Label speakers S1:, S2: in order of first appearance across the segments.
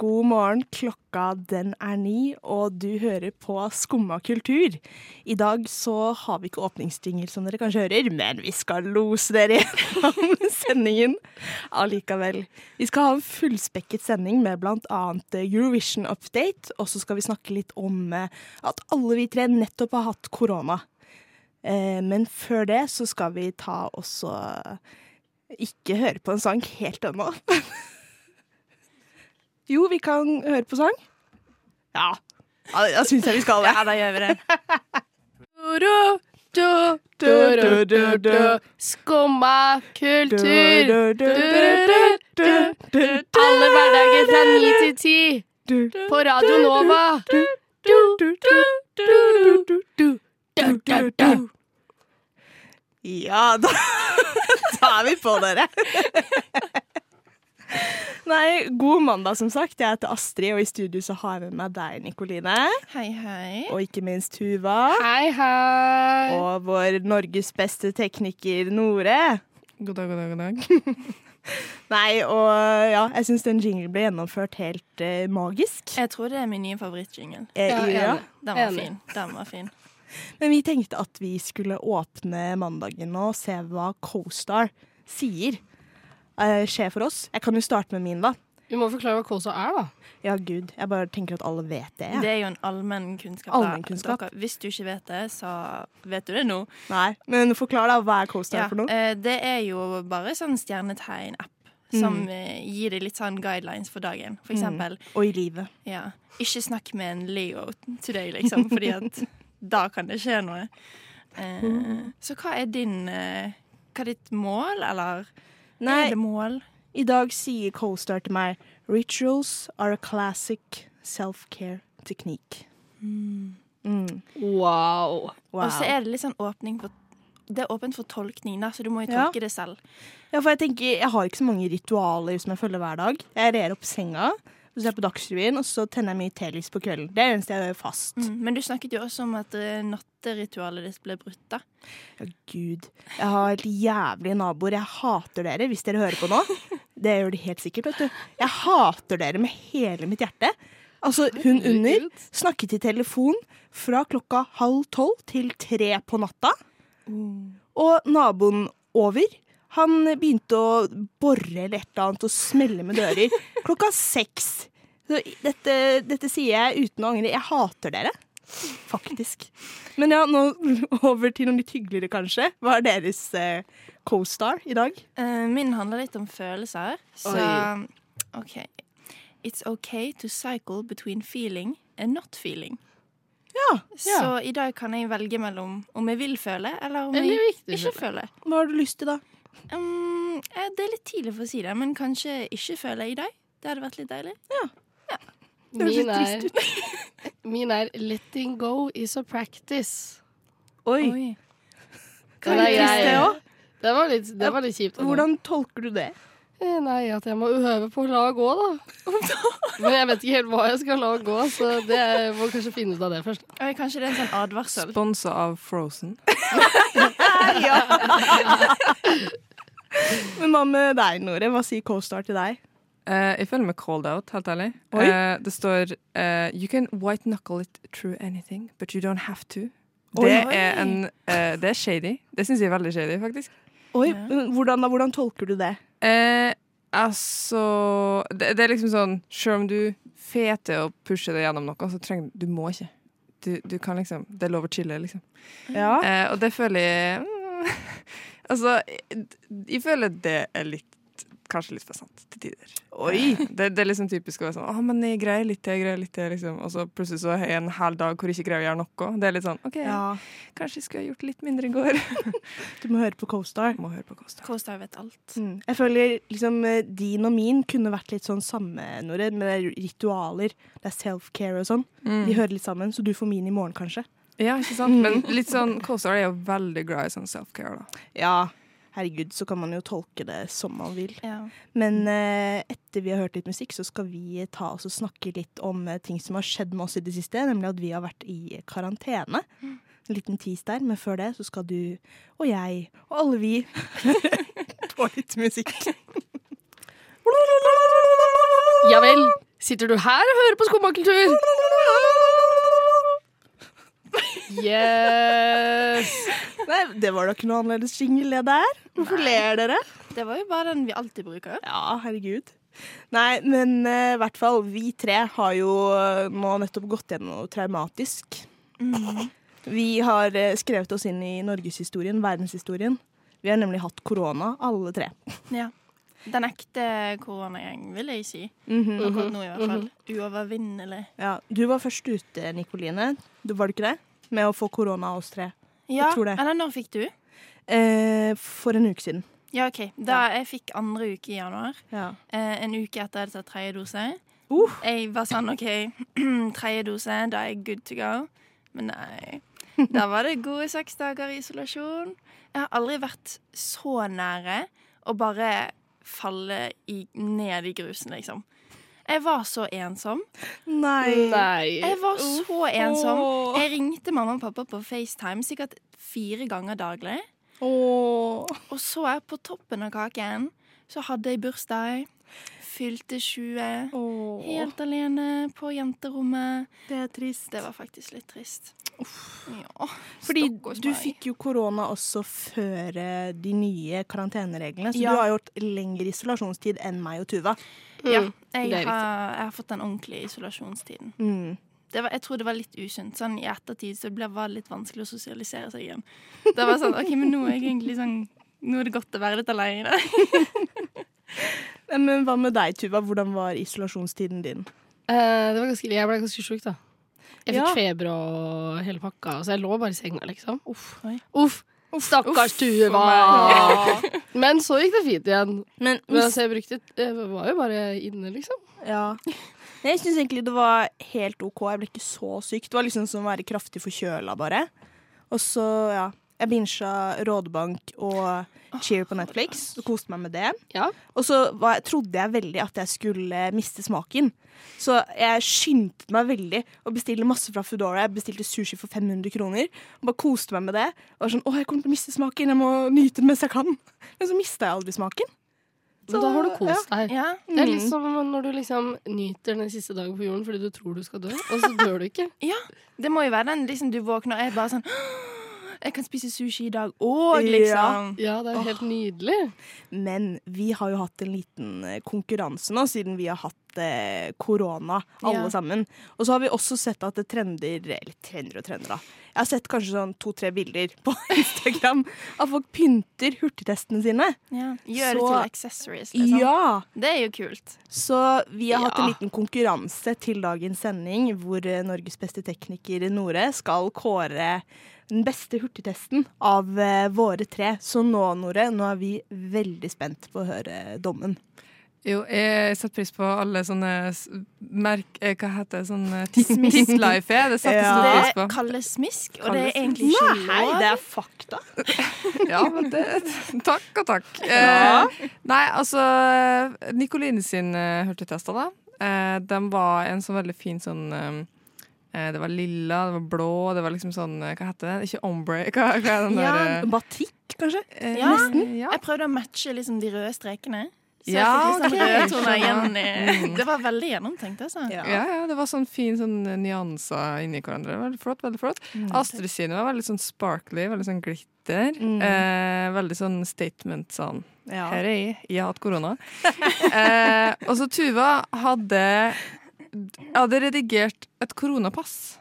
S1: God morgen, klokka den er ni, og du hører på Skumma kultur. I dag så har vi ikke åpningsjingel, som dere kanskje hører, men vi skal lose dere gjennom sendingen allikevel. Vi skal ha en fullspekket sending med bl.a. Eurovision Update, og så skal vi snakke litt om eh, at alle vi tre nettopp har hatt korona. Eh, Men før det så skal vi ta også eh, ikke høre på en sang helt ennå. Jo, vi kan høre på sang. Ja. Ja, Da syns jeg vi skal det. Ja, da gjør vi det.
S2: Du, du, du, du, du, du. Skumma kultur. Alle hverdager fra ni til ti på Radio Nova. Du, du, du, du, du, du. Du, du, du.
S1: Ja, da, da er vi på, dere. Nei, god mandag, som sagt. Jeg heter Astrid, og i studio så har jeg med meg deg, Nikoline.
S3: Hei, hei.
S1: Og ikke minst Tuva.
S2: Hei, hei.
S1: Og vår Norges beste tekniker, Nore.
S3: God dag, god dag, god dag.
S1: Nei, og ja, jeg syns den jinglen ble gjennomført helt eh, magisk.
S3: Jeg tror det er min nye favorittjingle.
S1: Eh,
S2: Ja,
S1: i-
S2: ja.
S1: ja.
S3: Den var
S2: Enig.
S3: fin. Den var fin.
S1: Men vi tenkte at vi skulle åpne mandagen nå og se hva CoStar sier eh, skjer for oss. Jeg kan jo starte med min, da.
S2: Vi må forklare hva Kosa er, da.
S1: Ja, gud. Jeg bare tenker at alle vet det. jeg.
S3: Det er jo en allmenn kunnskap. da.
S1: Allmenn kunnskap.
S3: Dere, hvis du ikke vet det, så vet du det nå.
S1: Nei, Men forklar, da. Hva er CoStar
S3: Ja,
S1: for noe?
S3: eh, det er jo bare sånn stjernetegn-app som
S1: Mm.
S3: eh, gir deg litt sånn guidelines for dagen. For eksempel,
S1: Og i livet.
S3: ja, ikke snakk med en Leo today, liksom, fordi at da kan det skje noe.
S1: Mm.
S3: Eh, så hva er din eh, Hva er ditt mål, eller?
S1: Nei,
S3: Er det mål?
S1: i dag sier CoStar til meg Rituals are a classic self-care technique. Mm.
S2: Wow.
S1: Wow.
S3: Og så er det litt sånn åpning for Det er åpent for tolkning, da, så du må jo
S1: Ja.
S3: tolke det selv.
S1: Ja, for jeg tenker, jeg har ikke så mange ritualer som jeg følger hver dag. Jeg rer opp senga, så ser jeg på Dagsrevyen, og så tenner jeg mye telys på kvelden. Det er det eneste jeg gjør fast.
S3: Mm. Men du snakket jo også om at eh, natteritualet ditt ble brutt, da.
S1: Ja, Gud. Jeg har helt jævlige naboer. Jeg hater dere, hvis dere hører på nå. Det gjør de helt sikkert, vet du. Jeg hater dere med hele mitt hjerte. Altså, hun under snakket i telefon fra klokka halv tolv til tre på natta. Og naboen over, han begynte å bore eller et eller annet og smelle med dører klokka seks. Så dette, dette sier jeg uten å angre. Jeg hater dere, faktisk. Men ja, nå over til noe litt hyggeligere, kanskje. Hva er deres eh, co-star i dag?
S3: Eh, min handler litt om følelser, så
S2: Oi.
S3: OK. It's okay to cycle between feeling and not feeling.
S1: Ja,
S3: Så i dag kan jeg velge mellom om jeg vil føle, eller om
S2: Eller
S3: jeg
S2: ikke
S3: ikke føler.
S1: Hva har du lyst til, da?
S3: Um, eh, det er litt tidlig for å si det, men kanskje ikke føle i dag. Det hadde vært litt deilig.
S1: høres
S2: Min
S1: litt
S2: er, min er 'letting go is a practice'.
S1: Oi.
S3: Oi.
S2: Den
S1: er
S2: er
S1: trist, det
S2: grei.
S1: også.
S2: Det var litt, det var litt kjipt.
S1: Hvordan tolker du det?
S2: Eh, Nei, at jeg må øve på å la gå, da. Men jeg vet ikke helt hva jeg skal la gå, så det jeg må kanskje finne ut av det først.
S3: Oi, kanskje det er en sånn advarsel.
S4: Sponsa av Frozen.
S1: Men hva med deg, Nore? Hva sier co-star til deg?
S4: Eh, jeg føler meg called out, helt ærlig.
S1: Oi.
S4: Eh, det står eh, You can white knuckle it through anything, but you don't have to.
S1: Oi.
S4: Det er, en, eh, det er shady. Det syns jeg er veldig shady, faktisk.
S1: Oi,
S3: Ja.
S1: men hvordan, da, hvordan tolker du det?
S4: Eh, altså det, det er liksom sånn Selv om du feter og pusher deg gjennom noe, så trenger du må ikke. Du, du kan liksom Det er lov å chille, liksom.
S1: Ja.
S4: Eh, og det føler jeg mm, Altså, jeg, jeg føler det er litt Kanskje litt for sant til tider.
S1: Oi.
S4: Det, det er liksom typisk å være sånn Å, men jeg greier litt til, jeg greier litt til, liksom. Og så plutselig så har jeg en hel dag hvor jeg ikke greier å gjøre noe. Det er litt sånn OK,
S1: Ja,
S4: kanskje jeg skulle ha gjort litt mindre i går.
S1: du må høre på co-star.
S4: Må høre på Kåstad.
S3: Kåstad vet alt.
S1: Mm. Jeg føler liksom eh, din og min kunne vært litt sånn samme, Nore, med ritualer. Det er self-care og sånn. De hører litt sammen, så du får min i morgen, kanskje.
S4: Ja, ikke sant? Men litt sånn Kåstad er jo veldig glad i sånn self-care, da.
S1: Ja, herregud, så kan man jo tolke det som man vil.
S3: Ja.
S1: Men eh, etter vi har hørt litt musikk, så skal vi ta oss og snakke litt om eh, ting som har skjedd med oss i det siste, nemlig at vi har vært i karantene.
S2: Mm.
S1: En liten tis der, men før det så skal du og jeg og alle vi få litt musikk.
S2: Ja vel. Sitter du her og hører på skomakultur? Yes!
S1: Nei, det var da ikke noe annerledes jingle, det der. Hvorfor ler dere?
S3: Det var jo bare den vi alltid bruker.
S1: Ja, herregud. Nei, men eh, i hvert fall, vi tre har jo eh, nå nettopp gått gjennom noe traumatisk. Mm. Vi har eh, skrevet oss inn i norgeshistorien, verdenshistorien. Vi har nemlig hatt korona, alle tre.
S3: Ja. Den ekte koronagjengen, vil jeg si. mhm.
S1: Mhm.
S3: Akkurat nå, i hvert fall. Uovervinnelig.
S1: ja, du var først ute, Nikoline. Du var det ikke det? Med å få korona av oss tre.
S3: Ja,
S1: tror det.
S3: Eller når fikk du?
S1: Eh, for en uke siden.
S3: Ja, OK. Da jeg fikk andre uke i januar,
S1: Ja.
S3: eh, en uke etter jeg hadde tatt tredje dose,
S1: Uh.
S3: jeg var sånn OK, tredje dose, da er jeg good to go. Men nei. Da var det gode seks dager i isolasjon. Jeg har aldri vært så nære å bare falle i, ned i grusen, liksom. Jeg var så ensom.
S1: Nei.
S2: Nei.
S3: Jeg var så ensom. Jeg ringte mamma og pappa på FaceTime sikkert fire ganger daglig.
S1: Åh.
S3: Og så er på toppen av kaken så hadde jeg bursdag. Fylte 20. Helt alene på jenterommet.
S1: Det er trist.
S3: Det var faktisk litt trist. Ja,
S1: Fordi
S3: stakkars
S1: du
S3: meg.
S1: fikk jo korona også før eh, de nye karantenereglene, så
S3: Ja.
S1: du har gjort lengre isolasjonstid enn meg og Tuva.
S3: Ja,
S2: Mm,
S3: jeg,
S2: det er riktig.
S3: har, jeg har fått den ordentlige isolasjonstiden.
S1: Mm.
S3: Det var, jeg tror det var litt usunt. Sånn, I ettertid så ble, var det litt vanskelig å sosialisere seg igjen. Det var sånn, ok, men nå er, jeg egentlig sånn, nå er det godt å være litt alene.
S1: Nei, Eh, Men hva med deg, Tuva? Hvordan var isolasjonstiden din?
S2: Eh, det var ganske, jeg ble ganske sjuk, da. Jeg fikk
S1: Ja.
S2: feber og hele pakka, så jeg lå bare i senga, liksom.
S3: Uff, oi. Ah.
S2: Uff! Stakkars Tuva! Men så gikk det fint igjen.
S1: Men,
S2: Men altså, jeg brukte Jeg var jo bare inne, liksom.
S1: ja. Jeg syns egentlig det var helt OK. Jeg ble ikke så syk. Det var liksom som å være kraftig forkjøla, bare. Og så, ja. Jeg bincha Rådebank
S3: Ah,
S1: og Cheer på Netflix og koste meg med det.
S2: Ja.
S1: Og så var, trodde jeg veldig at jeg skulle miste smaken. Så jeg skyndte meg veldig å bestille masse fra Foodora. Jeg bestilte sushi for 500 kroner. Og bare koste meg med det. Og var sånn, å, jeg kommer til å miste smaken, jeg må nyte den mens jeg kan. Men så mista jeg aldri smaken.
S2: Men da har du kost deg.
S3: Ja,
S2: Det er litt som når du liksom nyter den siste dagen på jorden fordi du tror du skal dø, og så dør du ikke.
S3: ja. Det må jo være den liksom, du våkner og er bare sånn Jeg kan spise sushi i dag òg, liksom.
S2: Ja, det er jo helt nydelig.
S1: Men vi har jo hatt en liten eh, konkurranse nå, siden vi har hatt eh, korona, alle
S3: Ja.
S1: sammen. Og så har vi også sett at det trender Eller trender og trender, da. Jeg har sett kanskje sånn to-tre bilder på Instagram av folk pynter hurtigtestene sine.
S3: Ja.
S1: Så-
S3: Gjør det til accessories, liksom.
S1: Ja!
S3: Det er jo kult.
S1: Så vi har hatt en
S2: Ja.
S1: liten konkurranse til dagens sending, hvor eh, Norges beste tekniker Nore skal kåre den beste hurtigtesten av eh, våre tre. Så nå, Nore, nå er vi veldig spent på å høre dommen.
S4: Jo, jeg setter pris på alle sånne s- merk... eh, Hva heter det? Sånn Tidslife, ja. Det setter jeg
S1: Ja.
S4: stor
S3: Det
S4: pris på.
S3: kalles smisk, og det
S4: Kalles
S3: er egentlig ikke lov.
S1: det er fakta.
S4: Ja, men det, takk og takk. Eh, Nei, altså Nikoline sin eh, hurtigtester, da. Eh, den var en sånn veldig fin sånn eh, Det var lilla, det var blå, det var liksom sånn eh, Hva heter det? Ikke ombre, hva, hva er den
S3: Ja,
S4: der
S1: Batikk, kanskje?
S4: eh,
S3: Ja.
S4: nesten. Ja.
S3: Jeg prøvde å matche liksom, de røde strekene. Så jeg
S4: Ja,
S3: fikk liksom
S4: ok.
S3: røde toner igjen i Det var veldig gjennomtenkt, altså.
S4: Ja, ja, det var sånn fin sånn nyanser inni hverandre. Det var Veldig flott. veldig flott.
S3: Mm.
S4: Astrid sine var veldig sånn sparkly, veldig sånn glitter.
S3: Mm.
S4: Eh, veldig sånn statement sånn.
S1: Ja.
S4: Her er jeg, jeg har hatt korona. eh, og så Tuva hadde hadde redigert et koronapass.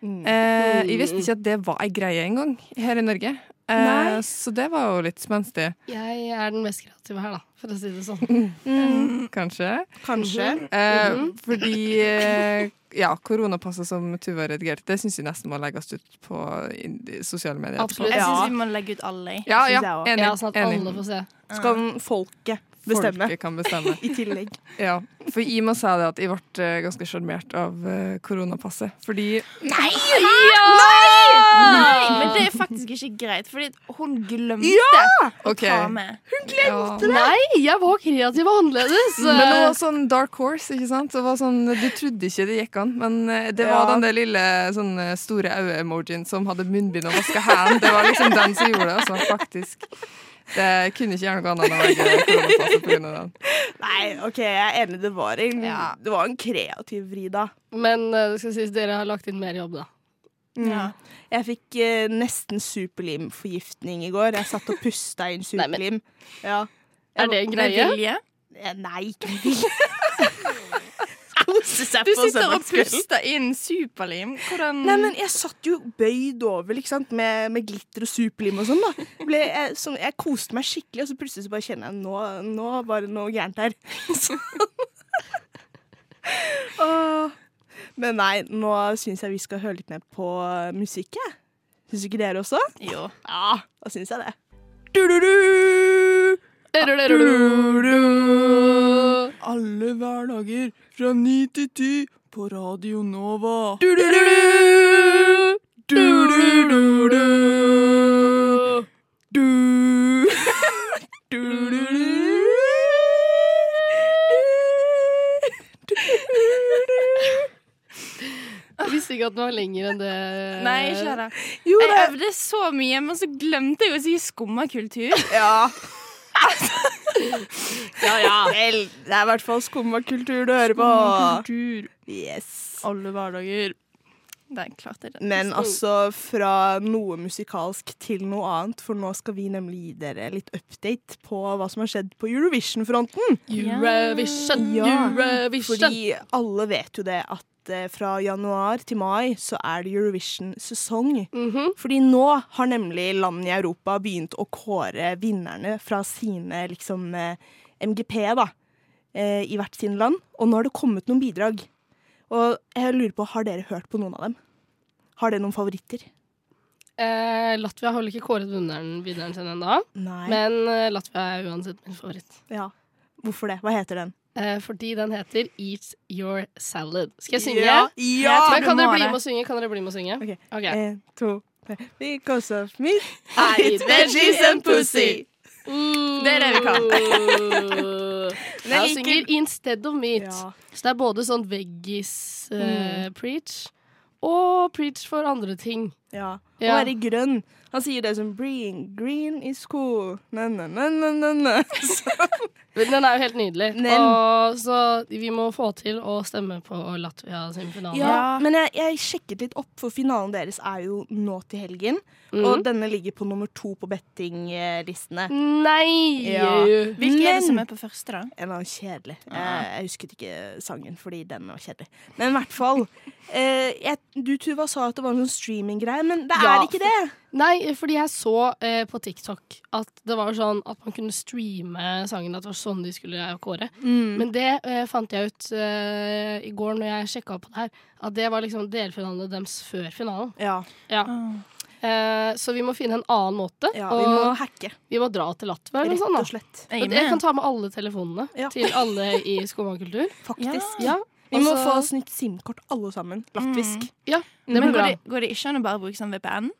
S1: Mm.
S4: Eh, jeg visste ikke at det var ei greie engang her i Norge. Eh, så det var jo litt spenstig,
S2: Jeg er den mest kreative her, da, for å si det sånn.
S4: kanskje.
S1: Kanskje.
S4: Eh,
S1: Mm.
S4: Fordi eh, ja, koronapasset som Tuva redigerte, det syns jeg nesten må legges ut på in- de sosiale medier. etterpå.
S2: Absolutt.
S3: Jeg syns
S1: Ja.
S3: vi må legge ut alle. jeg.
S4: Ja, ja,
S1: Synes jeg også.
S4: enig.
S2: Ja, sånn at alle
S4: enig.
S2: får se.
S1: Skal folket bestemme?
S4: Folket kan bestemme.
S1: I tillegg.
S4: Ja. For jeg må si det at jeg ble eh, ganske sjarmert av eh, koronapasset. Fordi
S3: Nei, men det er faktisk ikke greit, fordi hun glemte
S4: OK.
S3: å ta med.
S4: Ja.
S2: Nei, jeg var kreativ og annerledes.
S4: Men det var sånn dark horse, ikke sant? Det var sånn, du trodde ikke det gikk an, men eh, det var
S1: Ja.
S4: den der lille sånn eh, store øye-emojien som hadde munnbind og vaska hendene. Det var liksom den som gjorde det, altså, faktisk. Det kunne ikke gjøre noe annet enn å velge koronapasse på grunn av den.
S1: Nei, OK, jeg er enig. Det var en,
S2: Ja.
S1: det var en kreativ vri, da.
S2: Men eh, det skal sies, dere har lagt inn mer jobb, da.
S3: Ja.
S1: Jeg fikk eh, nesten superlimforgiftning i går. Jeg satt og pusta inn
S2: Nei, men-
S1: superlim. Ja.
S2: Er det en
S3: Med
S2: greie?
S3: vilje?
S1: Eh, Nei, ikke med vilje. Kose seg
S3: Du
S1: på
S3: sitter og
S1: søndagskvelden.
S3: puster inn superlim. Hvordan
S1: Nei, men jeg satt jo bøyd over ikke sant? Med, med glitter og superlim og sånn. da Ble, jeg, sånn, jeg koste meg skikkelig, og så plutselig så bare kjenner jeg nå, nå var det noe gærent her. Sånn. Åh. Men nei, nå syns jeg vi skal høre litt mer på musikk. jeg. Syns ikke dere også?
S3: Jo.
S1: Ja, da syns jeg det. Du-du-du!
S2: Du-du-du-du-du.
S4: Alle hverdager fra ni til ti på Radio Nova.
S2: Du-du-du-du. Du-du-du-du. Jeg visste ikke at den var lenger enn det.
S3: Nei, ikke det.
S1: Jo,
S3: Jeg
S1: det
S3: øvde så mye, men så glemte jeg å si skummakultur.
S1: Ja. ja, ja. Vel, det er i hvert fall skummakultur du hører på. Yes.
S3: Alle hverdager. Den klarte jeg. den.
S1: Men altså fra noe musikalsk til noe annet, for nå skal vi nemlig gi dere litt update på hva som har skjedd på Eurovision-fronten.
S2: Eurovision,
S1: Ja.
S2: Eurovision.
S1: Fordi alle vet jo det at eh, fra januar til mai så er det Eurovision-sesong.
S2: Mhm.
S1: Fordi nå har nemlig landene i Europa begynt å kåre vinnerne fra sine liksom eh, MGP, da. Eh, I hvert sine land. Og nå har det kommet noen bidrag. Og jeg lurer på, har dere hørt på noen av dem? Har dere noen favoritter?
S2: Eh, Latvia har vel ikke kåret vinneren, vinneren sin ennå,
S1: Nei.
S2: men eh, Latvia er uansett min favoritt.
S1: Ja. Hvorfor det? Hva heter den?
S2: Eh, fordi den heter Eat Your Salad. Skal jeg synge?
S1: Ja!
S3: Jeg tror
S2: Men
S3: du
S2: kan dere
S3: må
S2: bli
S3: det.
S2: med å synge? Kan dere bli med å synge?
S1: Ok.
S2: Ok.
S1: En, to, tre. Because of me.
S2: I
S1: eat veggies and pussy.
S2: Det Mm.
S3: Det er det vi kan. Men
S2: Jeg
S3: jeg liker-
S2: synger instead of meat.
S1: Ja. Mm.
S2: Så det er både sånn veggis-preach og preach for andre ting.
S1: Ja. Å
S2: Ja.
S1: være grønn. Han sier det som Green, green is cool. Na, na, na, na, na, na.
S2: Men den er jo helt nydelig.
S1: Men-
S2: Og så vi må få til å stemme på Latvia sin finale.
S1: Ja, men jeg, jeg sjekket litt opp, for finalen deres er jo nå til helgen.
S2: Mhm.
S1: Og denne ligger på nummer to på bettinglistene.
S2: Nei!
S1: Ja.
S3: Hvilken er
S1: Men-
S3: det som er på første, da?
S1: En eller annen kjedelig. Eh, jeg husket ikke sangen, fordi den var kjedelig. Men i hvert fall. Eh, jeg, du, Tuva, sa at det var en sånn streaminggreie, men det
S2: Ja,
S1: er ikke det.
S2: Nei, fordi jeg så eh, på TikTok at det var sånn at man kunne streame sangen. At det var sånn de skulle kåre.
S1: Mm.
S2: Men det eh, fant jeg ut eh, i går når jeg sjekka på det her, at det var liksom delfinalene deres før finalen.
S1: Ja,
S2: Ja. Eh, så vi må finne en annen måte.
S1: ja
S2: og
S1: vi må hacke,
S2: vi må dra til Latvia eller
S1: rett
S2: noe
S1: og
S2: sånt. da.
S1: slett.
S3: Jeg
S2: Og
S3: er
S2: Jeg kan
S3: med.
S2: ta med alle telefonene
S1: Ja. Mm,
S2: til alle i Skomakultur.
S1: Faktisk.
S2: Ja,
S1: Vi må
S2: altså- Mm.
S1: få oss nytt SIM-kort, alle sammen. Latvisk.
S2: Ja, det
S3: Men
S2: blir
S3: går
S2: bra.
S3: det, går det ikke an å bare bruke sånn VPN?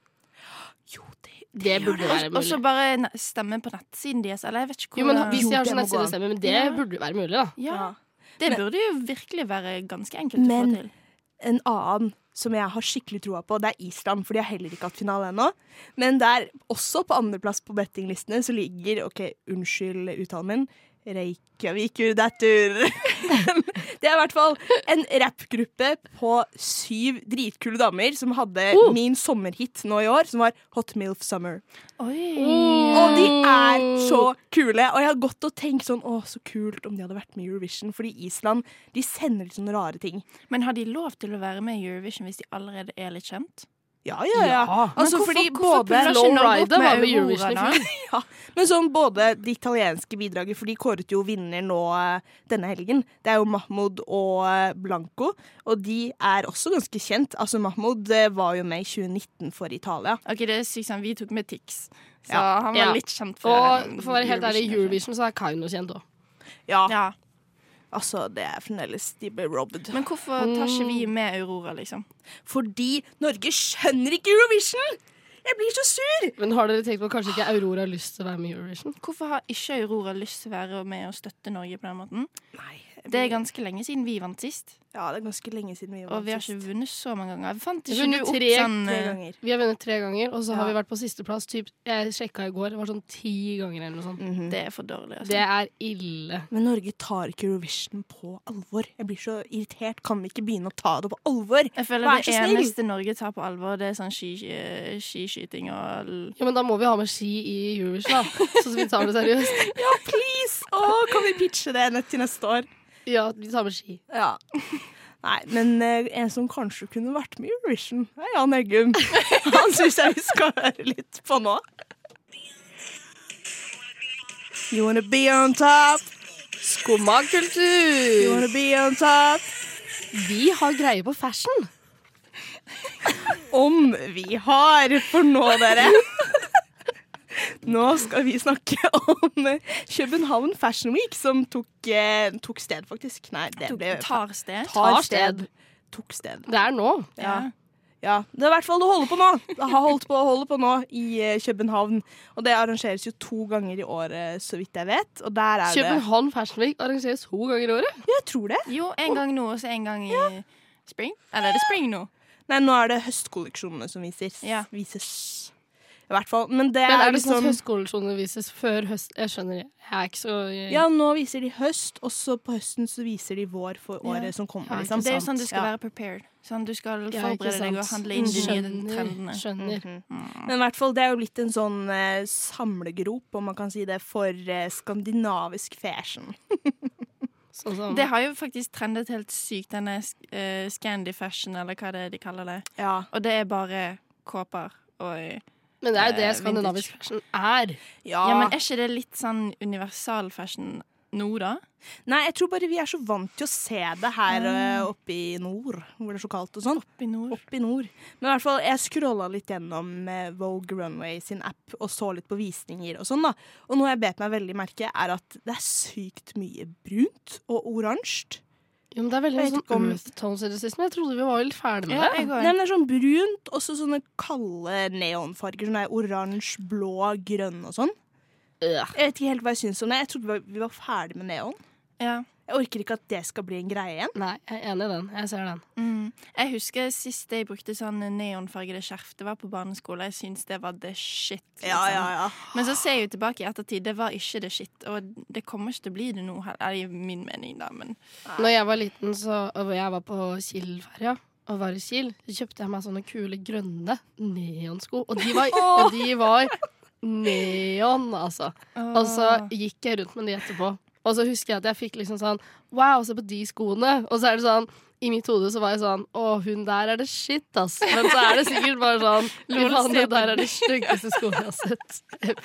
S1: Jo, det,
S2: Det burde være
S3: Og så
S2: mulig.
S3: bare ne- stemme på nettsiden deres? Eller jeg vet ikke
S2: Jo, men
S3: hvordan-
S2: Hvis de har
S1: Jo, det
S2: sånn
S1: må gå an.
S2: nettsidestemme, men det
S3: Ja.
S2: burde jo være mulig, da.
S3: ja.
S1: ja.
S3: Det
S1: Men-
S3: burde jo virkelig være ganske enkelt å
S1: Men-
S3: få til.
S1: en annen som jeg har skikkelig troa på, det er Island. For de har heller ikke hatt finale ennå. Men der, også på andreplass på bettinglistene, så ligger OK, unnskyld uttalen min. Reykjavikur datter. det er i hvert fall en rappgruppe på syv dritkule damer som hadde
S2: Oh!
S1: min sommerhit nå i år, som var Hot Milf Summer.
S2: Mm.
S3: Oi.
S1: Mm. Og de er så kule. Og jeg har gått og tenkt sånn Å, så kult om de hadde vært med i Eurovision. Fordi Island de sender litt sånne rare ting.
S3: Men har de lov til å være med i Eurovision hvis de allerede er litt kjent?
S1: Ja, ja, ja. Altså,
S3: hvorfor-
S1: fordi
S3: hvorfor
S1: både
S3: puller ikke
S2: Low
S3: Norge opp
S2: Rider var med i
S3: Aurora
S2: Eurovision i
S3: da?
S2: fjor.
S1: Men sånn både det italienske bidraget, for de kåret jo vinner nå eh, denne helgen. Det er jo Mahmoud og eh, Blanco, og de er også ganske kjent. Altså Mahmoud eh, var jo med i 2019 for Italia.
S3: Ok, det er sykt sant. Vi tok med Tix, så
S1: Ja.
S3: han var
S2: Ja.
S3: litt kjent for
S2: Og for å være helt ærlig, i
S3: Eurovision.
S2: Eurovision så er Kaino kjent òg.
S1: Ja,
S3: Ja.
S1: altså det er fremdeles De ble robbed.
S3: Men hvorfor tar ikke vi
S2: Mm.
S3: med Aurora, liksom?
S1: Fordi Norge skjønner ikke Eurovision! Jeg blir så sur!
S2: Men har dere tenkt på at kanskje ikke Aurora har lyst til å være med i Eurovision?
S3: Hvorfor har ikke Aurora lyst til å være med og støtte Norge på den måten?
S1: Nei,
S3: Det er ganske lenge siden vi vant sist.
S1: Ja, det er ganske lenge siden vi
S3: Og
S1: vant
S3: vi har
S1: sist.
S3: ikke vunnet så mange ganger. Fant
S2: Vi
S3: ikke du
S2: vunnet
S3: opp
S2: tre-
S3: sånn
S1: Tre
S3: eh,
S1: ganger.
S2: Vi har vunnet tre ganger, og så har
S1: Ja.
S2: vi vært på sisteplass. typ- Jeg sjekka i går, det var sånn ti ganger eller noe sånt.
S1: Mhm.
S3: Det er for dårlig. Altså.
S2: Det er ille.
S1: Men Norge tar ikke Eurovision på alvor. Jeg blir så irritert. Kan vi ikke begynne å ta det på alvor?
S3: Jeg føler
S1: Vær
S3: det
S1: så snill!
S3: eneste Norge tar på alvor, det er sånn ski- eh, skiskyting og l-
S2: Ja, men da må vi ha med ski i Eurovision, da. Så vi tar det seriøst.
S1: Please! Å, kan vi pitche det nett til neste år?
S2: Ja, vi tar med ski.
S1: Ja. Nei, men eh, en som kanskje kunne vært med i Eurovision, er Jan Eggum. Han syns jeg vi skal høre litt på nå. You wanna be on top,
S2: Skumma
S1: you
S2: kultur!
S1: wanna be on top.
S2: Vi har greie på fashion.
S1: Om vi har, for nå, dere. Nå skal vi snakke om eh, København Fashion Week, som tok, eh, tok sted, faktisk. Nei, det ble
S3: tar sted.
S2: Tar sted.
S1: Tok sted.
S2: Det er nå.
S3: Ja.
S1: Ja, det er i hvert fall det holder på nå. Det har holdt på å holde på nå i eh, København. Og det arrangeres jo to ganger i året, eh, så vidt jeg vet. Og der er det
S2: København Fashion Week arrangeres to ganger i året.
S1: Jeg tror det.
S3: Jo, en gang nå, og så en gang i spring. Eller er det spring nå?
S1: Nei, nå er det høstkolleksjonene som vises.
S3: Ja.
S1: Vises. I hvert fall. Men det
S2: Men
S1: er,
S2: er det sånn at
S1: liksom
S2: høstkolleksjonene vises før høst? Jeg skjønner, jeg er ikke så
S1: Ja, nå viser de høst, og så på høsten så viser de vår for året
S3: Ja.
S1: som kommer.
S2: Ja,
S1: liksom.
S3: Det er jo
S2: sant.
S3: sånn du skal
S1: Ja.
S3: være prepared. Sånn Du skal
S2: Ja, ikke
S3: forberede deg og
S2: sant.
S3: handle inn de nye
S2: Skjønner.
S3: trendene.
S2: skjønner.
S1: Men i hvert fall, det er jo litt en sånn eh, samlegrop, om man kan si det, for eh, skandinavisk fashion.
S2: Sånn som
S3: Det har jo faktisk trendet helt sykt, denne eh, Scandi fashion, eller hva det er de kaller det.
S1: Ja.
S3: Og det er bare kåper og
S2: Men det er jo det
S3: Eh,
S2: skandinavisk fashion er.
S1: Ja.
S3: Ja, men er ikke det litt sånn universal fashion nå, da?
S1: Nei, jeg tror bare vi er så vant til å se det her eh, oppe i nord, hvor det er så kaldt og sånn.
S3: I nord?
S1: Opp i nord. Men i hvert fall, jeg scrolla litt gjennom eh, Vogue Runway sin app og så litt på visninger og sånn, da. Og noe jeg bet meg veldig merke, er at det er sykt mye brunt og oransje.
S2: Jo, men det er veldig
S1: Jeg
S2: mye
S1: vet
S2: sånn
S1: ikke om-
S2: earth tones i det siste, men jeg trodde vi var litt ferdig med
S3: Ja,
S2: det.
S1: Nei,
S3: jeg går.
S1: men det er sånn brunt, og så sånne kalde neonfarger. Sånn der oransje, blå, grønn og sånn.
S2: Øh.
S1: Jeg vet ikke helt hva jeg syns om det. Jeg trodde vi var- vi var ferdig med neon.
S3: Ja.
S1: Jeg orker ikke at det skal bli en greie igjen.
S2: Nei, jeg er enig i den. Jeg ser den.
S3: Mm. Jeg husker sist jeg brukte sånn neonfargede skjerf. Det var på barneskole. Jeg syns det var the shit. liksom.
S1: ja.
S3: Men så ser jeg jo tilbake i ettertid. Det var ikke the shit. Og det kommer ikke til å bli det nå heller. Det er min mening, da. Men
S2: Når jeg var liten, så og jeg var på Kiel-ferja og var i Kiel, så kjøpte jeg meg sånne kule grønne neonsko. Og de var, og de var neon, altså. Og så
S1: Ah.
S2: gikk jeg rundt med de etterpå. Og så husker jeg at jeg fikk liksom sånn Wow, se på de skoene. Og så er det sånn i mitt hode så var jeg sånn Å, hun der er det shit, ass. Men så er det sikkert bare sånn Lol, faen, det der er de styggeste skoene jeg har sett.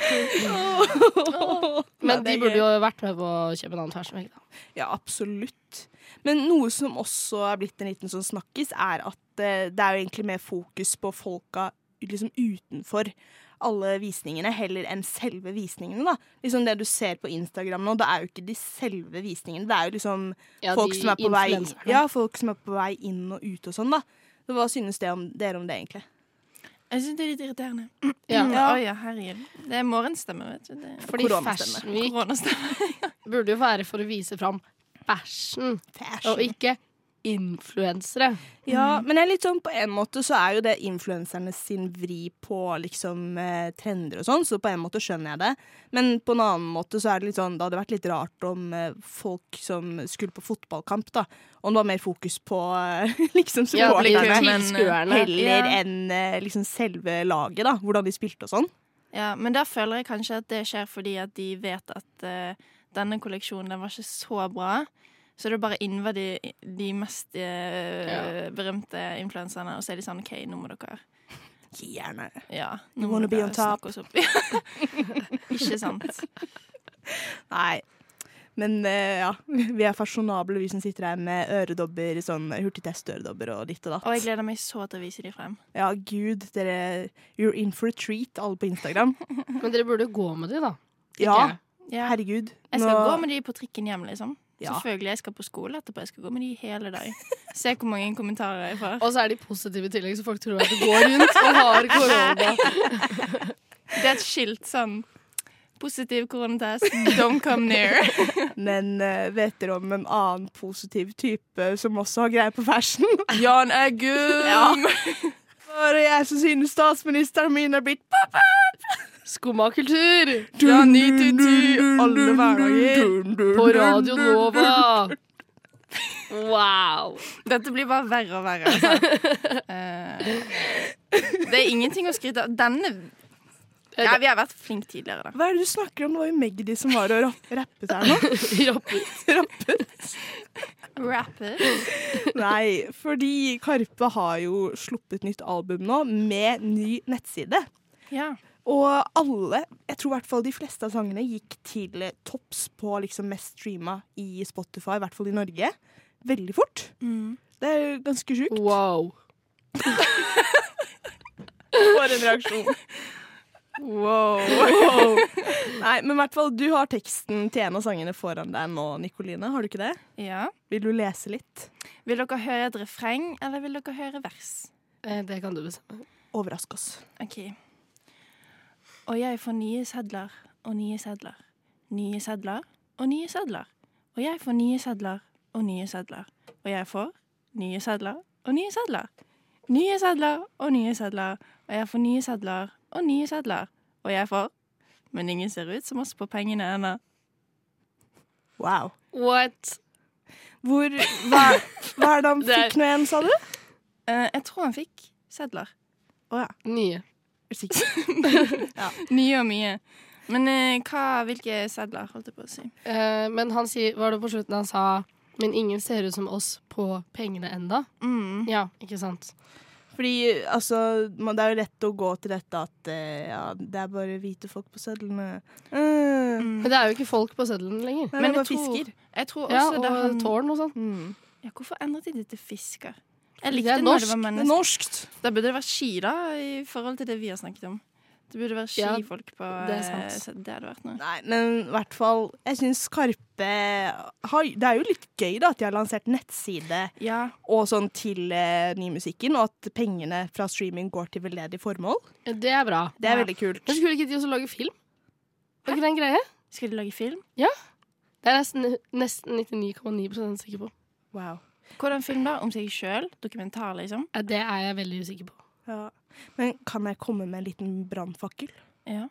S2: Men de burde jo vært med på København Fashion Week, da.
S1: Ja, absolutt. Men noe som også er blitt en liten sånn snakkis, er at eh, det er jo egentlig mer fokus på folka liksom utenfor alle visningene, heller enn selve visningene, da. Liksom det du ser på Instagram nå, det er jo ikke de selve visningene, det er jo liksom
S2: Ja,
S1: folk,
S2: de
S1: som er på vei,
S2: influenserne.
S1: ja, folk som er på vei inn og ut og sånn, da. Så Hva synes det om, dere om det, egentlig?
S3: jeg syns det er litt irriterende.
S2: Ja.
S3: Mm.
S1: Ja.
S3: Oi, ja, herregud. Det er morgenstemme, vet du. Det er
S2: Fordi
S1: Koronastemme.
S2: Fashion Week
S3: koronastemme.
S2: burde jo være for å vise fram fashion, og
S1: Fashion.
S2: ikke influensere.
S1: Ja, men jeg er litt sånn, på en måte så er jo det influenserne sin vri på liksom eh, trender og sånn, så på en måte skjønner jeg det. Men på en annen måte så er det litt sånn, det hadde vært litt rart om eh, folk som skulle på fotballkamp da, om det var mer fokus på eh, liksom
S2: Ja, de
S1: supporterne.
S3: men,
S2: tilskuerne.
S1: Heller
S3: Ja.
S1: enn eh, liksom selve laget, da. Hvordan de spilte og sånn.
S3: Ja, men der føler jeg kanskje at det skjer fordi at de vet at eh, denne kolleksjonen den var ikke så bra. Så det er bare innva de, de mest eh, berømte influenserne, og så er de sånn OK, nå må dere
S1: Gjerne.
S3: Ja,
S1: You
S3: nå
S1: wanna
S3: må
S1: be
S3: dere
S1: on top.
S3: snakke oss opp. ikke sant.
S1: Nei. Men eh, ja, vi er fasjonable, vi som sitter her med øredobber, sånn hurtigtest-øredobber og ditt og datt.
S3: Og jeg gleder meg så til å vise de frem.
S1: Ja, gud, dere You're in for a treat, alle på Instagram.
S2: Men dere burde gå med de, da. Ikke
S1: Ja,
S2: jeg.
S3: Ja.
S1: herregud.
S3: Jeg skal
S1: Nå-
S3: gå med de på trikken hjem, liksom.
S1: Ja.
S3: Selvfølgelig. Jeg skal på skole etterpå. Jeg skal gå med de hele dag. Se hvor mange kommentarer jeg får.
S2: Og så er de positive i tillegg, så folk tror at det går rundt og har korona.
S3: Det er et skilt sånn Positiv koronatest. Don't come near.
S1: Men eh, vet dere om en annen positiv type som også har greie på fashion?
S3: Jan Eggum!
S1: Bare jeg som synes statsministeren min er blitt
S2: Skumma kultur!
S3: Fra ni til ti alle hverdager.
S2: På Radio Nova! Wow.
S3: Dette blir bare verre og verre. Altså. Eh, det er ingenting å skryte av. Denne ja, Vi har vært flinke tidligere, da.
S1: Hva er det du snakker om? Det var jo Magdi som var og rapp- rappet her nå.
S2: Rapper.
S3: Rapper.
S1: Nei, fordi Karpe har jo sluppet nytt album nå, med ny nettside.
S3: Ja.
S1: Og alle, jeg tror i hvert fall de fleste av sangene, gikk til topps på liksom mest streama i Spotify, i hvert fall i Norge. Veldig fort. Det er jo ganske sjukt.
S2: Wow.
S1: For en reaksjon. Wow. Nei, men i hvert fall, du har teksten til en av sangene foran deg nå, Nikoline. Har du ikke det?
S3: ja.
S1: Vil du lese litt?
S3: Vil dere høre et refreng, eller vil dere høre vers?
S2: Eh, Det kan du bestemme.
S1: Overrask oss.
S3: OK. Og jeg får nye sedler og nye sedler. Nye sedler og nye sedler. Og jeg får nye sedler og nye sedler. Og jeg får nye sedler og nye sedler. Nye sedler og nye sedler. Og jeg får nye sedler og nye sedler. Og jeg får Men ingen ser ut som oss på pengene ennå.
S1: Wow.
S2: What?
S1: Hvor, hva, hva er det han
S2: Det er-
S1: fikk nå igjen, sa du?
S3: Eh, jeg tror han fikk sedler.
S1: Å ja.
S2: Nye.
S1: Sikkert.
S3: Nye og mye. Men eh, hva, hvilke sedler, holdt jeg på å si.
S2: Eh, Men han sier, var det på slutten han sa Men ingen ser ut som oss på pengene enda?
S3: Mm.
S2: Ja, ikke sant?
S1: Fordi altså, man, det er jo lett å gå til dette at eh, ja, det er bare hvite folk på sedlene. Mm.
S2: Men det er jo ikke folk på seddelen lenger.
S1: Nei, det er
S3: Men jeg
S1: bare
S3: tror-
S1: fisker.
S3: Jeg tror også
S2: Ja,
S3: da
S2: og
S3: han
S2: tårn og sånn.
S1: Mm.
S3: Ja, hvorfor endret de det til fisker? Jeg
S2: Fordi
S3: likte
S2: det er
S3: når
S2: norsk.
S3: det var
S1: Det
S3: mennesker.
S1: er norskt.
S3: Da burde det vært ski, da, i forhold til det vi har snakket om. Det burde være
S2: Ja,
S3: skifolk på
S2: det er sant.
S3: eh, så Det hadde vært noe.
S1: Nei, men i hvert fall Jeg syns Karpe har, Det er jo litt gøy da at de har lansert nettside
S3: Ja,
S1: og sånn til eh, nymusikken, og at pengene fra streaming går til veldedig formål.
S2: Det er bra.
S1: Det er
S3: Ja.
S1: veldig kult.
S2: Men skulle ikke de også lage film? Var ikke det en greie?
S3: Skal de lage film?
S2: Det er jeg nesten nesten 99,9 sikker på.
S1: Wow.
S3: Hvordan film, da? Om seg sjøl? Dokumentar, liksom?
S2: Ja, Det er jeg veldig usikker på.
S1: Ja. Men kan jeg komme med en liten brannfakkel?
S3: Ja.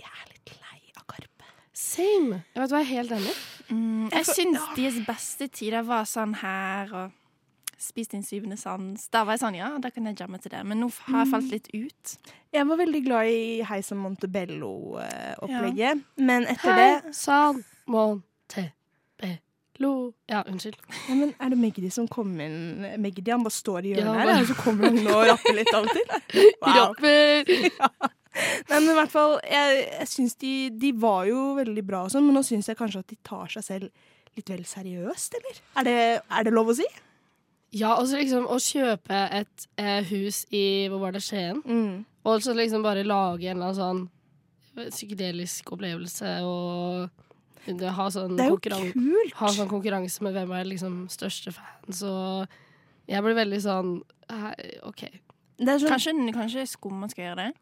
S1: Jeg er litt lei av Karpe.
S2: Same! Jeg vet hva, jeg er helt enig.
S3: Mm, jeg
S1: får-
S3: syns
S1: ja.
S3: deres beste tider var sånn her og Spis din syvende sans. Da var jeg sånn, ja, da kan jeg jamme til det. Men nå har jeg falt litt ut.
S1: Jeg var veldig glad i Heisa Montebello-opplegget, men etter det
S2: Hei Sånn. sann, Montebello Ja, unnskyld.
S1: ja, men Er det Magdi som kom inn? Magdi han bare står i hjørnet
S2: Ja,
S1: her,
S2: men-
S1: og så kommer han og rapper litt av og til.
S2: Rapper!
S1: Nei, men i hvert fall, jeg, jeg synes de, de var jo veldig bra og sånn, men nå syns jeg kanskje at de tar seg selv litt vel seriøst, eller? Er det, er det lov å si?
S2: Ja, og så liksom å kjøpe et eh, hus i Hva var det, Skien? Og så liksom bare lage en eller annen sånn psykedelisk opplevelse og det- ha sånn
S1: Det er jo
S2: konkurran-
S1: kult!
S2: ha sånn konkurranse med hvem er liksom største fans og Jeg blir veldig sånn hei, OK.
S1: Det er sånn,
S3: Kanskje, kanskje Skumma skal gjøre det?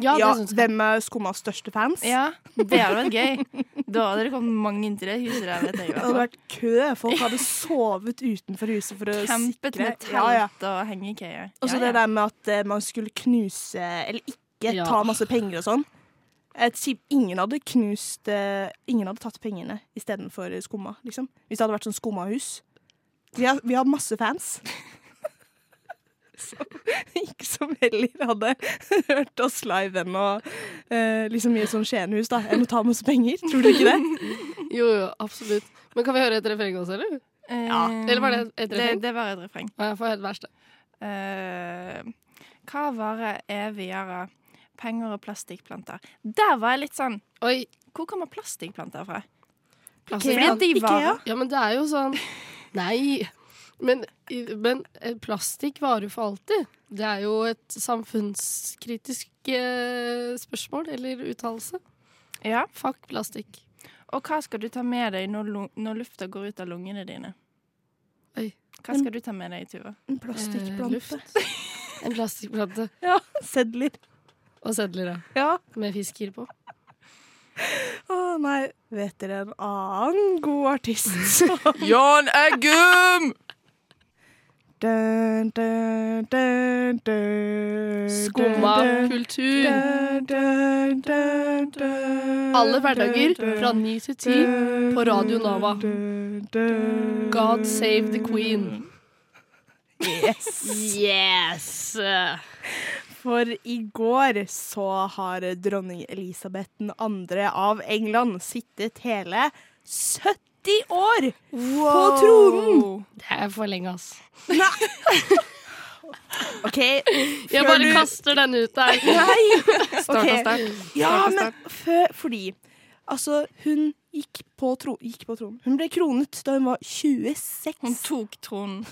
S2: Ja,
S1: ja,
S2: det syns jeg.
S1: hvem er Skummas største fans?
S3: Ja, Det hadde vært gøy. Da hadde det kommet mange inn til det huset der. vet jeg i hvert
S1: Det
S3: fall.
S1: hadde vært kø. Folk hadde sovet utenfor huset for å
S3: Kjempet
S1: sikre
S3: med telt
S1: Ja, ja.
S3: og hengekøye.
S1: Og så
S3: Ja, ja.
S1: det der med at eh, man skulle knuse Eller ikke
S2: Ja.
S1: ta masse penger og sånn. Jeg sier- Ingen hadde knust eh, Ingen hadde tatt pengene istedenfor skumma. Liksom. Hvis det hadde vært sånn skummahus. Vi har, vi har masse fans. Som ikke som heller hadde hørt oss live ennå, eh, liksom i et sånn Skienhus, da, enn å ta masse penger. Tror du ikke det?
S2: Jo, jo, absolutt. Men kan vi høre et refreng også, eller?
S3: Eh,
S2: Eller var det et- et refreng?
S3: Det, det var et refreng.
S2: Ja, Jeg får helt verst, det.
S3: Eh, hva varer evigere? Penger og plastikkplanter. Der var jeg litt sånn
S2: Oi.
S3: Hvor kommer plastikkplanter fra?
S2: Plastikkplanter.
S3: Fordi de
S1: Ikea?
S3: varer
S2: Ja, men det er jo sånn Nei. Men, men eh, plastikk varer jo for alltid. Det er jo et samfunnskritisk eh, spørsmål eller uttalelse.
S3: Ja.
S2: Fuck plastikk.
S3: Og hva skal du ta med deg når, lu- når lufta går ut av lungene dine?
S2: Oi.
S3: Hva skal du ta med deg, Tuva?
S1: En
S2: Eh,
S1: plastikkplante.
S2: luft. En plastikkplante
S1: Ja, sedler.
S2: og sedler da,
S1: Ja.
S2: med fisker på.
S1: Å nei, vet dere en annen god artist som
S4: Jan Eggum!
S1: Dun, dun, dun, dun,
S2: Skumma
S1: dun,
S2: kultur.
S1: dun, dun, dun, dun,
S2: Alle hverdager
S1: dun,
S2: fra ni til ti.
S1: dun,
S2: på Radio Nova.
S1: dun, dun,
S2: God save the queen.
S1: Yes.
S2: Yes!
S1: For i går så har dronning Elisabeth 2. av England sittet hele 70 år på tronen!
S2: Det er for lenge, ass.
S1: OK.
S2: Jeg
S1: før
S2: bare
S1: du-
S2: kaster den ut der.
S1: Nei!
S4: Starta
S1: Ok.
S4: sterkt.
S1: Ja,
S4: Starta
S1: men fø- fordi Altså, hun gikk på, tro, gikk på tronen. Hun ble kronet da hun var 26.
S3: Hun tok tronen.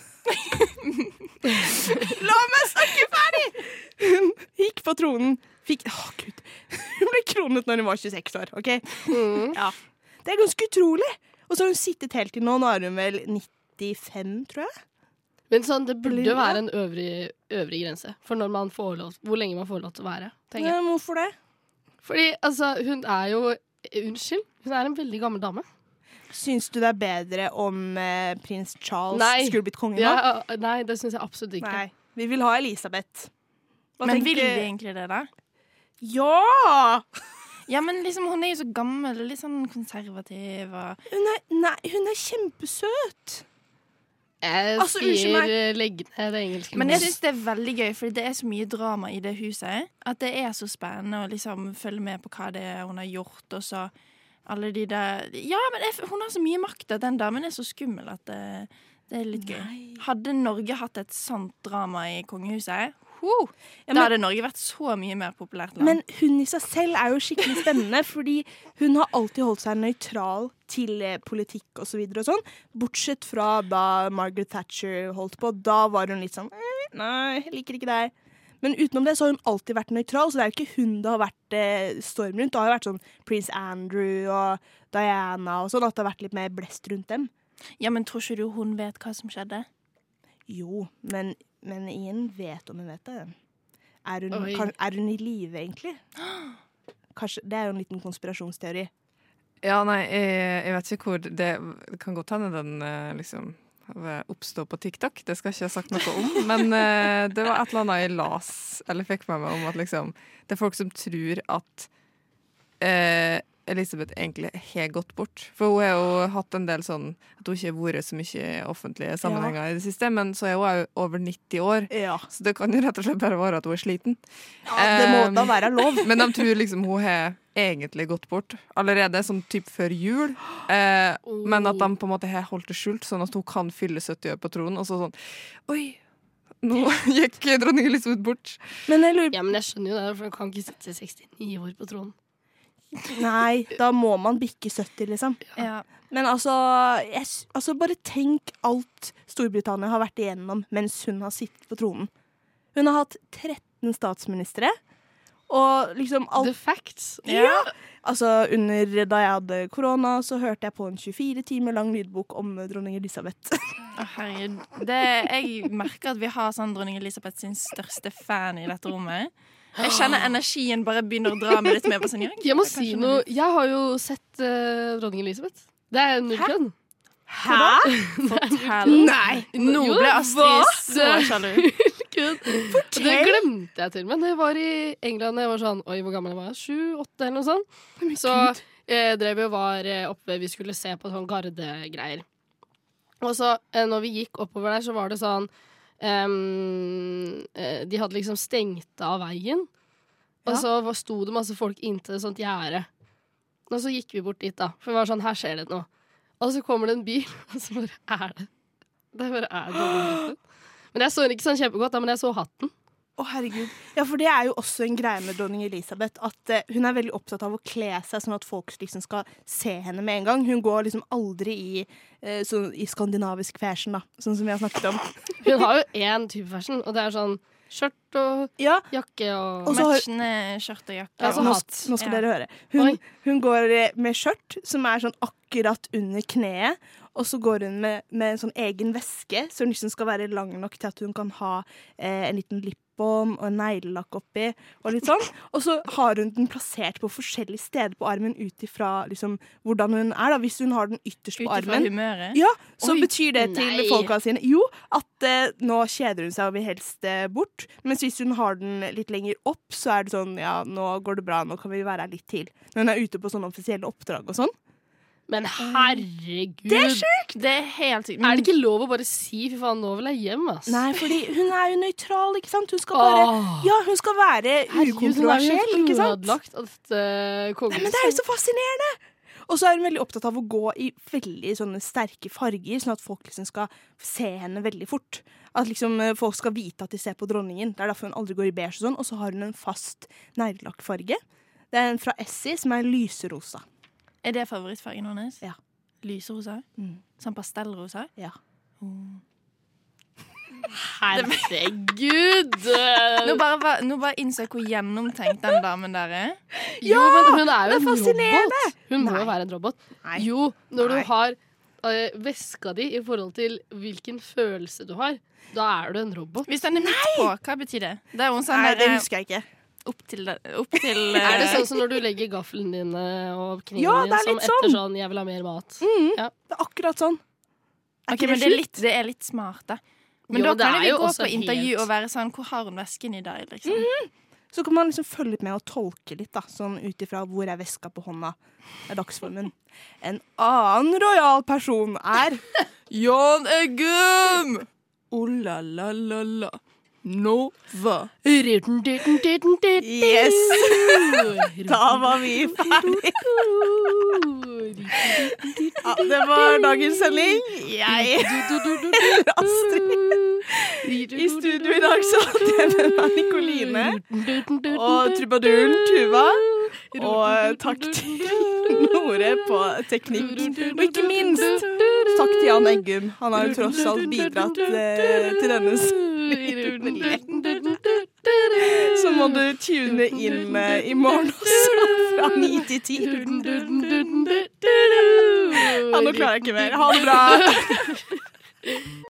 S1: La meg snakke ferdig! Hun gikk på tronen, fikk Å, gud. Hun ble kronet når hun var 26 år, OK? Ja. Det er ganske utrolig. Og så har hun sittet helt til nå. Nå er hun vel 95, tror jeg.
S2: Men sånn, det burde
S1: Blir
S2: jo
S1: det?
S2: være en øvrig, øvrig grense for når man får lov, hvor lenge man får lov til å være. Tenker jeg.
S1: Men hvorfor det?
S2: Fordi altså, hun er jo eh, Unnskyld, hun er en veldig gammel dame.
S1: Syns du det er bedre om eh, prins Charles
S2: Nei.
S1: skulle blitt konge nå?
S2: Ja, eh, nei, det syns jeg absolutt ikke.
S1: Nei. Vi vil ha Elisabeth. Hva
S3: Men
S1: tenker-
S3: vil de egentlig det, da?
S1: Ja!
S3: Ja, men liksom, Hun er jo så gammel og litt sånn konservativ. Og...
S1: Hun er, nei, hun er kjempesøt.
S2: Jeg
S1: Altså, unnskyld
S2: sier
S1: meg.
S2: eh, legg ned det engelske
S3: Men jeg
S2: ordet.
S3: syns det er veldig gøy, for det er så mye drama i det huset. At det er så spennende å liksom følge med på hva det er hun har gjort, og så alle de der Ja, men jeg, hun har så mye makt at den damen er så skummel at det, det er litt gøy. Hadde Norge hatt et sånt drama i kongehuset, ho,
S1: men-
S3: da hadde Norge vært så mye mer populært land.
S1: Men hun i seg selv er jo skikkelig spennende, fordi hun har alltid holdt seg nøytral til eh, politikk og så videre og sånn. Bortsett fra da Margaret Thatcher holdt på. Da var hun litt sånn eh, Nei, jeg liker ikke deg. Men utenom det så har hun alltid vært nøytral, så det er jo ikke hun det har vært eh, storm rundt. Det har jo vært sånn prins Andrew og Diana og sånn, at det har vært litt mer blest rundt dem.
S3: ja, men tror ikke du hun vet hva som skjedde?
S1: Jo, men, men ingen vet om hun vet det. Er hun,
S2: Oi.
S1: kan, er hun i live, egentlig? Kanskje, det er jo en liten konspirasjonsteori.
S4: Ja, nei, eh, jeg, jeg vet ikke hvor Det det kan godt hende den eh, liksom oppstår på TikTok, det skal ikke jeg ha sagt noe om. Men eh, det var et eller annet jeg las, eller fikk med meg om at liksom Det er folk som tror at eh, Elisabeth egentlig har gått bort. For hun har jo hatt en del sånn At hun ikke har vært så mye i offentlige sammenhenger i det siste, men så er hun òg over 90 år.
S1: Ja.
S4: Så det kan jo rett og slett bare være at hun er sliten.
S1: det må
S4: Eh,
S1: da være
S2: Um.
S1: lov.
S4: men de tror liksom hun har egentlig gått bort allerede, sånn typ før jul. Eh,
S2: Oh.
S4: Men at de på en måte har holdt det skjult, sånn at hun kan fylle 70 år på tronen. Og så sånn Oi, nå gikk dronning Elisabeth bort.
S1: Men jeg lurer
S2: Ja, men jeg skjønner jo det, for hun kan ikke sitte 69 år på tronen.
S1: Nei, da må man bikke 70, liksom.
S3: Ja.
S1: Men altså, jeg, s- altså Bare tenk alt Storbritannia har vært igjennom mens hun har sittet på tronen. Hun har hatt 13 statsministre, og liksom alt
S2: The facts.
S1: Ja. Altså, under da jeg hadde korona, så hørte jeg på en 24 timer lang lydbok om eh, dronning Elisabeth.
S3: Å, herregud. Det, jeg merker at vi har sånn dronning Elisabeth sin største fan i dette rommet. Jeg kjenner energien bare begynner å dra meg litt med. På sånn, ja,
S2: Jeg må
S3: det er
S2: si
S3: kanskje
S2: noe.
S3: litt-
S2: Jeg har jo sett eh, dronning Elisabeth. Det er null kødd.
S1: Hæ?
S3: Fortell.
S1: Nei!
S3: Nå
S2: Jo,
S3: ble
S2: hva?
S3: Astrid så
S2: eh,
S3: sjalu.
S2: Kødd. Og Det glemte jeg til, men det var i England. Jeg var sånn, oi, hvor gammel jeg var Sju-åtte eller noe sånt. Så eh, drev vi og var eh, oppe, vi skulle se på sånn gardegreier. Og så, eh, når vi gikk oppover der, så var det sånn ehm, eh, De hadde liksom stengt av veien, og
S1: Ja.
S2: så var- sto det masse folk inntil et sånt gjerde. Og så gikk vi bort dit, da, for vi var sånn, her skjer det noe. Og så kommer det en bil, og så bare er det Det bare er det. Men jeg så den ikke sånn kjempegodt, da, men jeg så hatten.
S1: Å, herregud. Ja, for det er jo også en greie med dronning Elisabeth. At eh, hun er veldig opptatt av å kle seg sånn at folk liksom skal se henne med en gang. Hun går liksom aldri i, eh, sånn, i skandinavisk fashion, da. Sånn som vi har snakket om.
S2: Hun har jo én type fashion, og det er sånn skjørt og
S1: Ja,
S2: jakke og
S1: Og så har-
S3: Matchende skjørt og jakke.
S2: Ja, så
S1: nå,
S2: hatt.
S1: sk- nå skal
S3: Altså Ja.
S1: dere høre.
S2: Oi.
S1: Hun, hun går eh, med skjørt som er sånn akkurat under kneet, Og så går hun med, med en sånn egen væske, så nissen skal være lang nok til at hun kan ha eh, en liten lipbånd og en neglelakk oppi. Og litt sånn. Og så har hun den plassert på forskjellige steder på armen ut ifra liksom, hvordan hun er. da. Hvis hun har den ytterst på
S3: Ut ifra
S1: armen,
S3: humøret.
S1: ja, så
S2: Oi,
S1: betyr det til
S2: nei.
S1: folka sine jo at eh, nå kjeder hun seg og vil helst eh, bort. Mens hvis hun har den litt lenger opp, så er det sånn ja, nå går det bra, nå kan vi være her litt til. Når hun er ute på sånne offisielle oppdrag og sånn.
S2: Men herregud! Det er,
S3: Det er helt sykt.
S2: det ikke lov å bare si 'fy faen, nå vil jeg hjem', ass?
S1: Nei, fordi hun er jo nøytral, ikke sant? Hun skal bare
S2: Åh.
S1: Ja, hun skal være
S2: Herregud, hun er jo
S1: ukontroversiell,
S2: helt
S1: ikke sant?
S2: ødelagt av dette eh,
S1: Nei,
S2: kongehuset.
S1: men det er jo så fascinerende! Og så er hun veldig opptatt av å gå i veldig sånne sterke farger, sånn at folk liksom skal se henne veldig fort. At liksom eh, folk skal vite at de ser på dronningen. Det er derfor hun aldri går i beige og sånn. Og så har hun en fast neglelakkfarge. Det er en fra Essie som er lyserosa.
S3: Er det favorittfargen hennes?
S1: Ja.
S3: Lyserosa?
S1: Mm.
S3: Sånn pastellrosa?
S1: Ja.
S2: Herregud!
S3: Nå bare, var- nå bare innså jeg hvor gjennomtenkt den damen der er.
S2: Jo, men hun
S1: det
S2: er jo
S1: er
S2: en
S1: fascinerende!
S2: robot. Hun må
S1: Nei.
S2: jo være en robot.
S1: Nei.
S2: Jo, når
S1: Nei.
S2: du har eh, veska di i forhold til hvilken følelse du har, da er du en robot.
S3: Hvis den er midt på, hva betyr det? Det er jo en sånn
S1: Nei, det
S3: der,
S1: husker jeg ikke.
S3: opp til, opp til
S2: Er det sånn som når du legger gaffelen din eh, og kniven
S1: Ja, det
S2: din
S1: er
S2: som
S1: litt
S2: etter
S1: sånn. Mm.
S2: sånn 'jeg vil ha mer mat'?
S1: Det er akkurat sånn.
S3: Ok,
S1: ikke
S3: men det
S1: sjukt?
S3: er litt, det er litt smart, da. Men
S2: Jo,
S3: da
S2: det
S3: kan
S2: er
S3: vi
S2: jo
S3: gå
S2: også
S3: på intervju
S2: helt-
S3: og være sånn Hvor har hun vesken i dag, liksom?
S1: Så kan man liksom følge litt med og tolke litt, da, sånn ut ifra hvor er veska på hånda. Det er dagsformen. En annen rojal person er
S4: Jan Eggum! Oh la la la la. Nova.
S2: Ritten, ditten, ditten, ditten.
S1: Yes!
S2: Ritten,
S1: Da var vi ferdige.
S2: ditten,
S1: Ja, det var dagens sending. Jeg
S2: ditten,
S1: Astrid.
S2: ditten.
S1: I studio i dag så hadde jeg med meg Nikoline
S2: Ritten, ditten, ditten,
S1: og
S2: ditten.
S1: trubaduren Tuva.
S2: Ritten,
S1: Og
S2: ditten,
S1: takk
S2: ditten,
S1: til
S2: ditten.
S1: Nore på teknikk. Og ikke minst takk til Jan Eggum. Han har jo tross alt bidratt eh, til denne Så må du tune inn eh, i morgen også, fra ni til ti. Ja, nå klarer jeg ikke mer. Ha det bra.